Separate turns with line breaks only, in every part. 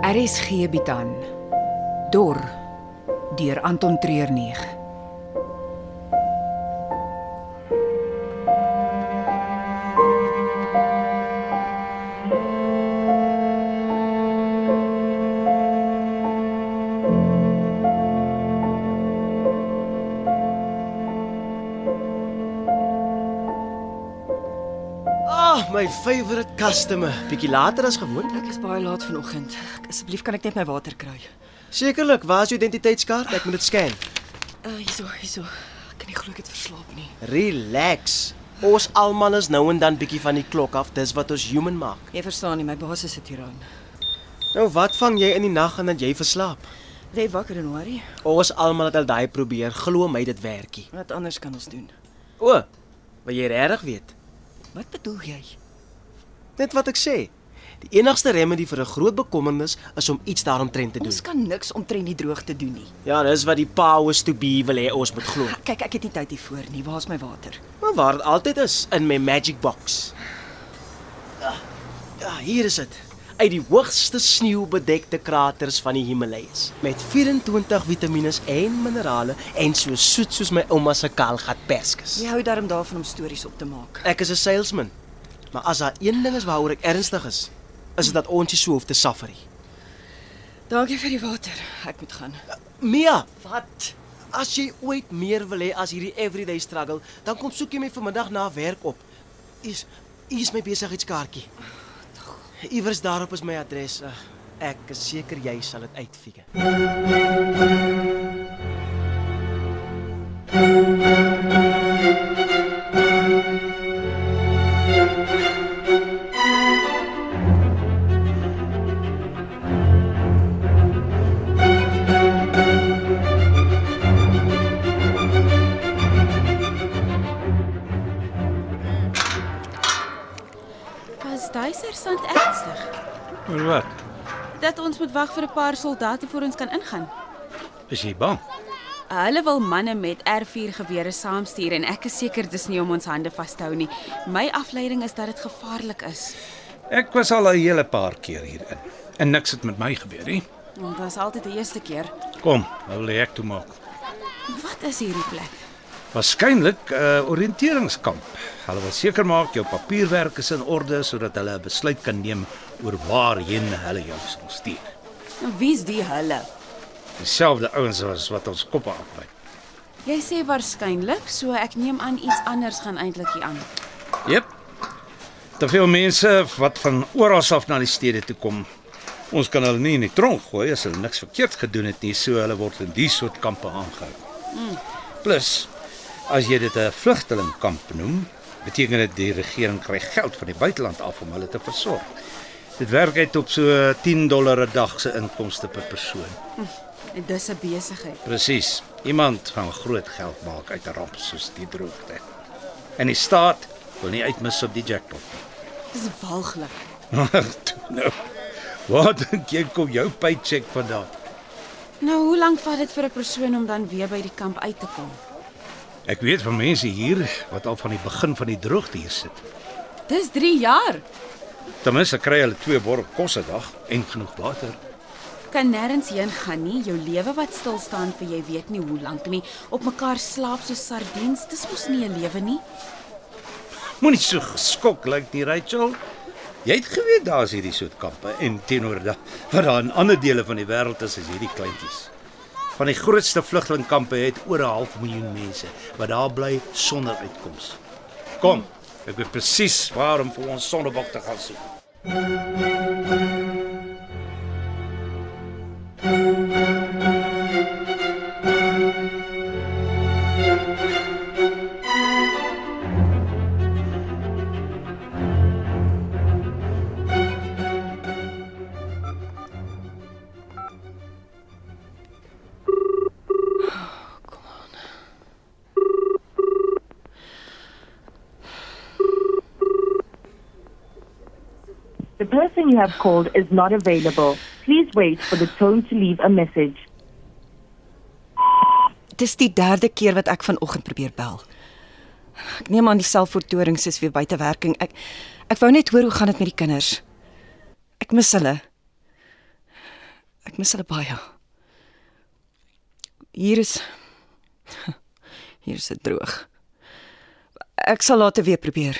RSG bied aan Dor deur Anton Treurnig.
Ah, my favourite customer. Bietjie later as gewoond.
Ek is baie laat vanoggend. Ek- Asseblief kan ek net my water kry?
Sekerlik, waar is jou identiteitskaart? Ek moet dit scan.
Uh hierso, hierso. Ek kan nie glo ek het verslaap nie.
Relax. Ons almal is nou en dan bietjie van die klok af. Dis wat ons human maak.
Jy verstaan nie, my baas is 'n tiran.
Nou wat vang jy in die nag en dat jy verslaap?
Bly wakker en worry.
Ons almal het al daai probeer. Glo my, dit werkie.
Wat anders kan ons doen?
O, wil jy regtig weet?
Wat bedoel jy?
Net wat ek sê. Die enigste remedie vir 'n groot bekommernis is om iets daaromtrent te doen.
Ons kan niks omtrent die droogte doen nie.
Ja, dis wat die powers to be wil hê ons moet glo.
Kyk, ek het nie tyd hiervoor nie. Waar is my water?
Maar waar dit altyd is in my magic box. Ah, Ja, hier is dit. Uit die hoogste sneeubedekte kraters van die Himalajas met 24 vitamiene en minerale en so soet soos my ouma se kaalgat perskes.
Jy hou daarom daarvan om stories op te maak.
Ek is 'n salesman. Maar as daar een ding is waaroor ek ernstig is, is dit dat ons hier so hoef te safari.
Dankie vir die water. Ek moet gaan.
Mia,
Wat?
as jy ooit meer wil hê as hierdie everyday struggle, dan kom soek jy my vanmiddag na werk op. Is is my besigheidskaartjie. Iewers daarop is my adres. Uh, Ek is seker jy sal dit uitfigure.
Was daai sersant ernstig
Oor wat?
dat ons moet wag vir 'n paar soldate voor ons kan ingaan?
Is jy bang?
Hulle wil manne met R4 gewere saamstuur en ek is seker dis nie om ons hande vas te hou nie. My afleiding is dat dit gevaarlik is.
Ek was al 'n hele paar keer hierin en niks het met my gebeur nie.
Dit was altyd die eerste keer.
Kom, nou wil ek toe maak.
Wat is hierdie plek?
Waarskynlik 'n uh, oriënteringskamp. Hulle wil seker maak jou papierwerk is in orde sodat hulle 'n besluit kan neem oor waarheen hulle jou sal stuur.
En Nou, wie's die hulle?
Dieselfde ouens was wat ons koppe afbyt.
Jy sê waarskynlik, so ek neem aan iets anders gaan eintlik hier aan.
Jep. Te veel mense wat van oral af na die stede toe kom. Ons kan hulle nie in die tronk gooi as hulle niks verkeerd gedoen het nie, so hulle word in die soort kampe aangehou. Plus, as jy dit 'n vlugtelingkamp noem, beteken dit die regering kry geld van die buiteland af om hulle te versorg. Dit werk uit op so 10 dollar 'n dag se inkomste per persoon.
En Dis 'n besigheid.
Presies. Iemand gaan groot geld maak uit 'n ramp soos die droogte. En die staat wil nie uitmis op die jackpot nie.
Dis walglik.
Maar toe nou. Wat dink jy kom jou paycheck vandaan?
Nou, hoe lank vat dit vir 'n persoon om dan weer by die kamp uit te kom?
Ek weet van mense hier wat al van die begin van die droogte hier sit.
Dis 3 jaar.
Ten minste kry hulle twee borrel kos 'n dag en genoeg water.
Kan nêrens heen gaan nie. Jou lewe wat stil staan vir jy weet nie hoe lank nie. Op mekaar slaap soos sardiens. Dis mos nie 'n lewe nie.
Moenie so geskok lyk nie, Rachel. Jy het geweet daar's hierdie soort kampe en teenoor da wat daar in ander dele van die wêreld is as hierdie kleintjies. Van die grootste vlugtelingkampe het oor 'n half miljoen mense wat daar bly sonder uitkoms. Kom, ek weet presies waar om vir ons sonnebok te gaan soek.
The person you have called is not available. Please wait for the tone to leave a message.
Dis die derde keer wat ek vanoggend probeer bel. Ek neem aan die selfvertorings is weer buite werking. Ek ek wou net hoor hoe gaan dit met die kinders. Ek mis hulle. Ek mis hulle baie. Hier is hier is dit droog. Ek sal later weer probeer.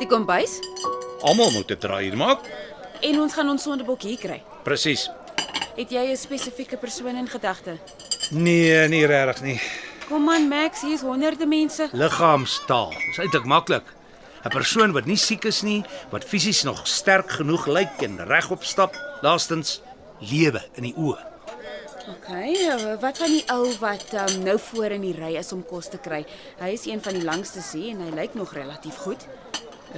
Die kombuis
Almal moet 'n draai hier maak.
en ons gaan ons sondebok hier kry.
Presies.
Het jy 'n spesifieke persoon in gedagte?
Nee, nie regtig nie.
Kom aan Max, hier is honderde mense.
Liggaamstaal. Dis eintlik maklik. 'n Persoon wat nie siek is nie, wat fisies nog sterk genoeg lyk en regop stap, laastens lewe in die oë.
Okay, eh, wat van die ou wat um, nou voor in die ry is om kos te kry? Hy is een van die langste sê en hy lyk nog relatief goed.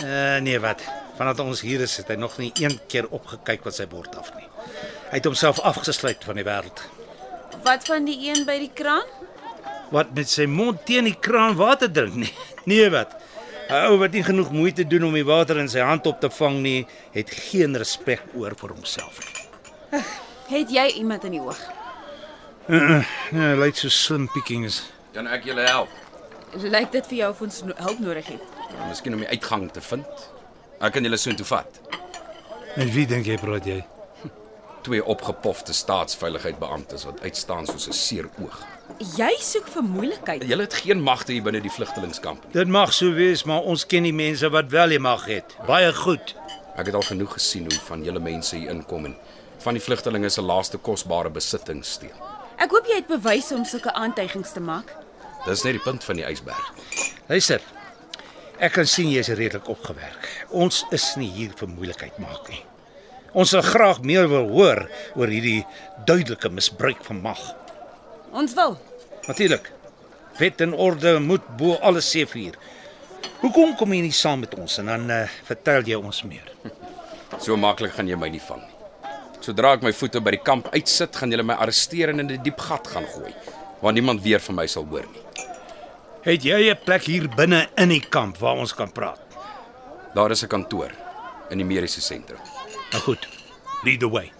Uh, nee, wat? Vandat ons hier is, het hy nog nie een keer opgekyk wat sy bord af nie. Hy het homself afgesluit van die wêreld.
Wat van die een by die kraan?
Wat met sy mond teen die kraan water drink nie. Nee, wat? 'n Ou wat nie genoeg moeite doen om die water in sy hand op te vang nie, het geen respek oor vir homself nie.
Het jy iemand in die oog?
Ja, hy lyk so slim pickings.
Kan ek julle help?
Lyk dit vir jou of ons no- hulp nodig het?
Miskien om die uitgang te vind. Ek kan julle soontoe vat.
En wie dink jy praat jy?
Twee opgepofte staatsveiligheidsbeamptes wat uitstaan soos 'n seer oog.
Jy soek vir moeilikheid.
Julle het geen magte hier binne die vlugtelingkamp nie.
Dit mag so wees, maar ons ken die mense wat wel die mag het. Baie goed.
Ek het al genoeg gesien hoe van julle mense hier inkom en van die vlugtelinge se laaste kosbare besitting steel.
Ek hoop jy het bewyse om sulke aantuigings te maak.
Dis net die punt van die ysberg.
Luister. Ek kan sien jy's redelik opgewerk. Ons is nie hier vir moeilikheid maak nie. Ons sal graag meer wil hoor oor hierdie duidelike misbruik van mag.
Ons wil.
Natuurlik. Wet en orde moet bo alles seëvier. Hoekom kom jy nie saam met ons en dan uh, vertel jy ons meer?
So maklik gaan jy my nie vang nie. Sodra ek my voete by die kamp uitsit, gaan julle my arresteer en in 'n die diep gat gaan gooi, waar niemand weer van my sal hoor nie.
Het jy 'n plek hier binne in die kamp waar ons kan praat?
Daar is 'n kantoor in die mediese sentrum.
Nou goed. Lead the way.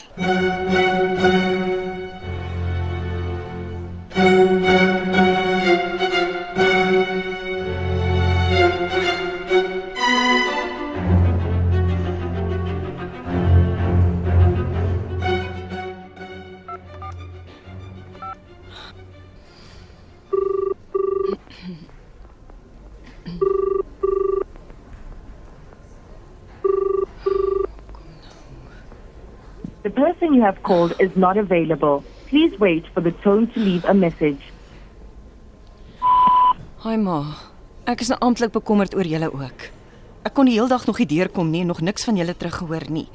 The person you have called is not available. Please wait for the tone to leave a message.
Haai ma. Ek is nou amptelik bekommerd oor julle ook. Ek kon die hele dag nog nie deurkom nie en nog niks van julle teruggehoor nie.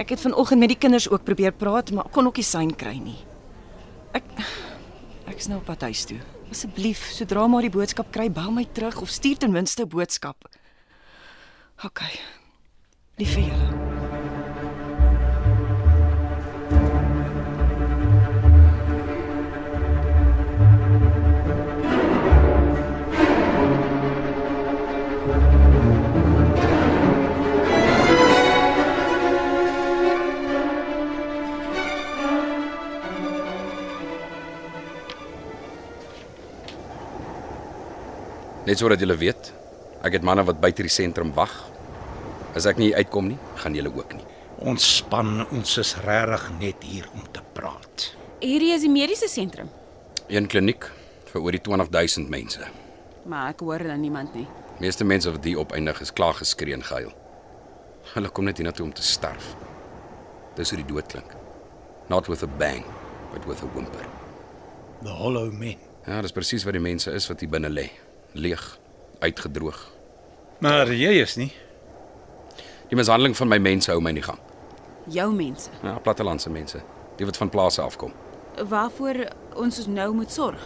Ek het vanoggend met die kinders ook probeer praat, maar kon ook nie sein kry nie. Ek ek is nou op pad huis toe. Asseblief, sodra maar die boodskap kry, bel my terug of stuur ten minste 'n boodskap. OK. Lief vir julle.
Net sodat julle weet, ek het manne wat buite die sentrum wag. As ek nie uitkom nie, gaan julle ook nie.
Ontspan, ons is regtig net hier om te praat.
Hierdie is die mediese sentrum.
Een kliniek vir oor die 20000 mense.
Maar ek hoor dan niemand nie.
Meeste mense wat hier opeindig is klaar geskree en gehuil. Hulle kom net hiernatoe om te sterf. Dis hoe die dood klink. Not with a bang, but with a whimper.
The Hollow Men.
Ja, dis presies wat die mense is wat hier binne lê. Leeg, uitgedroog.
Maar jy is nie.
Die mishandeling van my mense hou my in die gang.
Jou mense.
Ja, plattelandse mense, die wat van plase afkom.
Waarvoor ons ons nou moet sorg?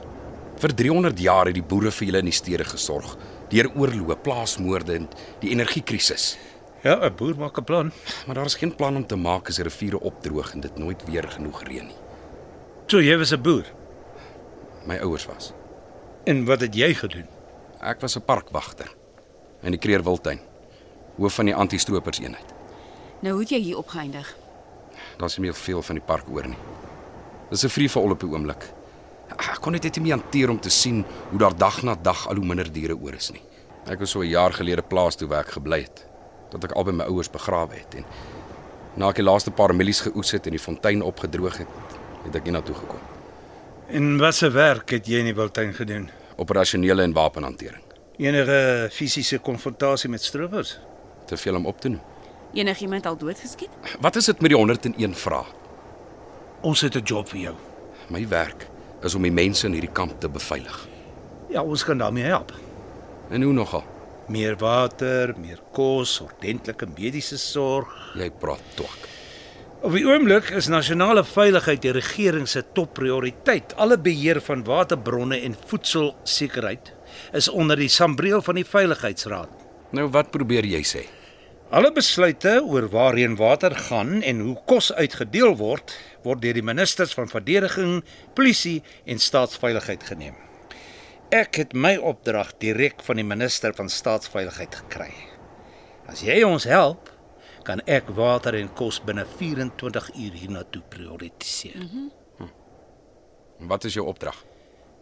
Vir 300 jaar het die boere vir hulle in die stede gesorg deur oorloë, plaasmoorde en die energiekrisis.
Ja, 'n boer maak 'n plan.
Maar daar is geen plan om te maak as die riviere opdroog en dit nooit weer genoeg reën nie.
So jy was 'n boer.
My ouers was.
En wat het jy gedoen?
Ek was 'n parkwagter in die Kreer Wildtuin, hoof van die anti-stroopers eenheid.
Nou hoe het jy hier opgeëindig?
Daar's nie meer veel van die park oor nie. Dis 'n vrye val op die oomblik. Ah, Ek kon dit net nie meer hanteer om te sien hoe daar dag na dag al hoe minder diere oor is nie. Ek was so 'n jaar gelede plaas toe waar ek gebly het, tot ek albei my ouers begrawe het en na ek die laaste paar mielies geoes het en die fontein opgedroog het, het ek hiernatoe gekom.
En watter werk het jy in die wildtuin gedoen?
Operasionele en wapenhantering.
Enige fisiese konfrontasie met stroopers?
Te veel om op te noem.
Enigiemand al doodgeskiet?
Wat is dit met die 101 vrae?
Ons het 'n job vir jou.
My werk is om die mense in hierdie kamp te beveilig.
Ja, ons kan daarmee help.
En hoe nogal?
Meer water, meer kos, ordentlike mediese sorg.
Jy praat twak.
Op die oomblik is nasionale veiligheid die regering se topprioriteit. Alle beheer van waterbronne en voedselsekerheid is onder die sambreel van die veiligheidsraad.
Nou wat probeer jy sê?
Alle besluite oor waarheen water gaan en hoe kos uitgedeel word, word deur die ministers van verdediging, polisie en staatsveiligheid geneem. Ek het my opdrag direk van die minister van staatsveiligheid gekry. As jy ons help, kan ek water en kos binne 24 uur hiernatoe prioritiseer mm -hmm.
Wat is jou opdrag?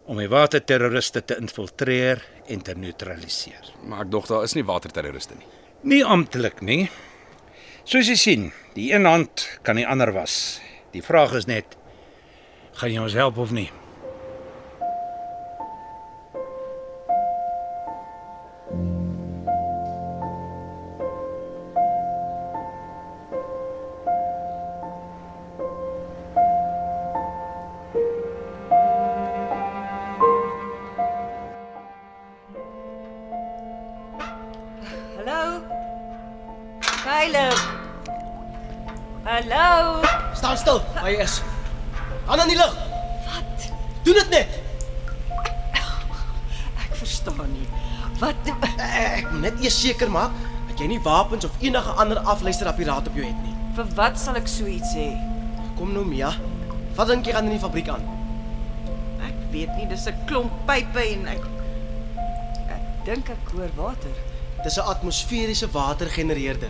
om die waterterroriste te infiltreer en te neutraliseer.
Maar ek dog daar is nie waterterroriste nie.
Nie amptelik nie. Soos jy sien, die een hand kan die ander was. Die vraag is net gaan jy ons help of nie?
Hallo. Kyler. Hallo.
Staan stil, waar jy is. Aan in die lug. Wat? Doen dit net.
Ek verstaan nie. Wat
Eh, Ek moet net eers seker maak dat jy nie wapens of enige ander afluisterapparaat op jou het nie.
vir wat sal ek so iets sê?
Kom nou, Mia. Wat dink jy gaan in die fabriek aan?
Ek weet nie, dis 'n klomp pype en ek ek dink ek hoor water
Dis 'n atmosferiese watergenereerder.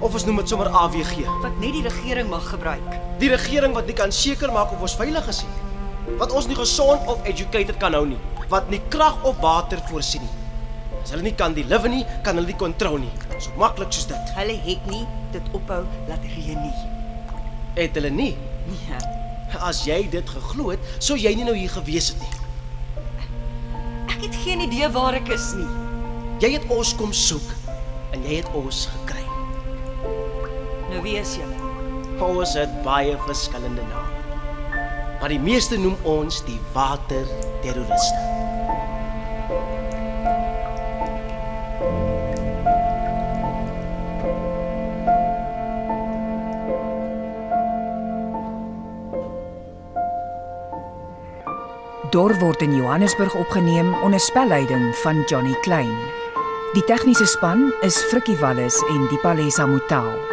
Of ons noem dit sommer AWG.
wat net die regering mag gebruik.
Die regering wat nie kan seker maak of ons veilig is nie. Wat ons nie gesond of educated kan hou nie. Wat nie krag of water voorsien nie. As hulle nie kan deliver nie, kan hulle nie kontrol nie. So maklik soos dit.
Hulle het nie dit ophou laat reën nie.
Het hulle nie.
Nee.
As jy dit geglo het, sou jy nie nou hier gewees het nie.
Ek het geen idee waar ek is nie.
Jy het ons kom soek en jy het ons gekry.
Nou wie is julle?
Ons het baie verskillende name. Maar die meeste noem ons die waterterroriste.
Dor word in Johannesburg opgeneem onder spelleiding van Johnny Klein. Die tegniese span is Frikkie Wallis en Dipalesa Motelo.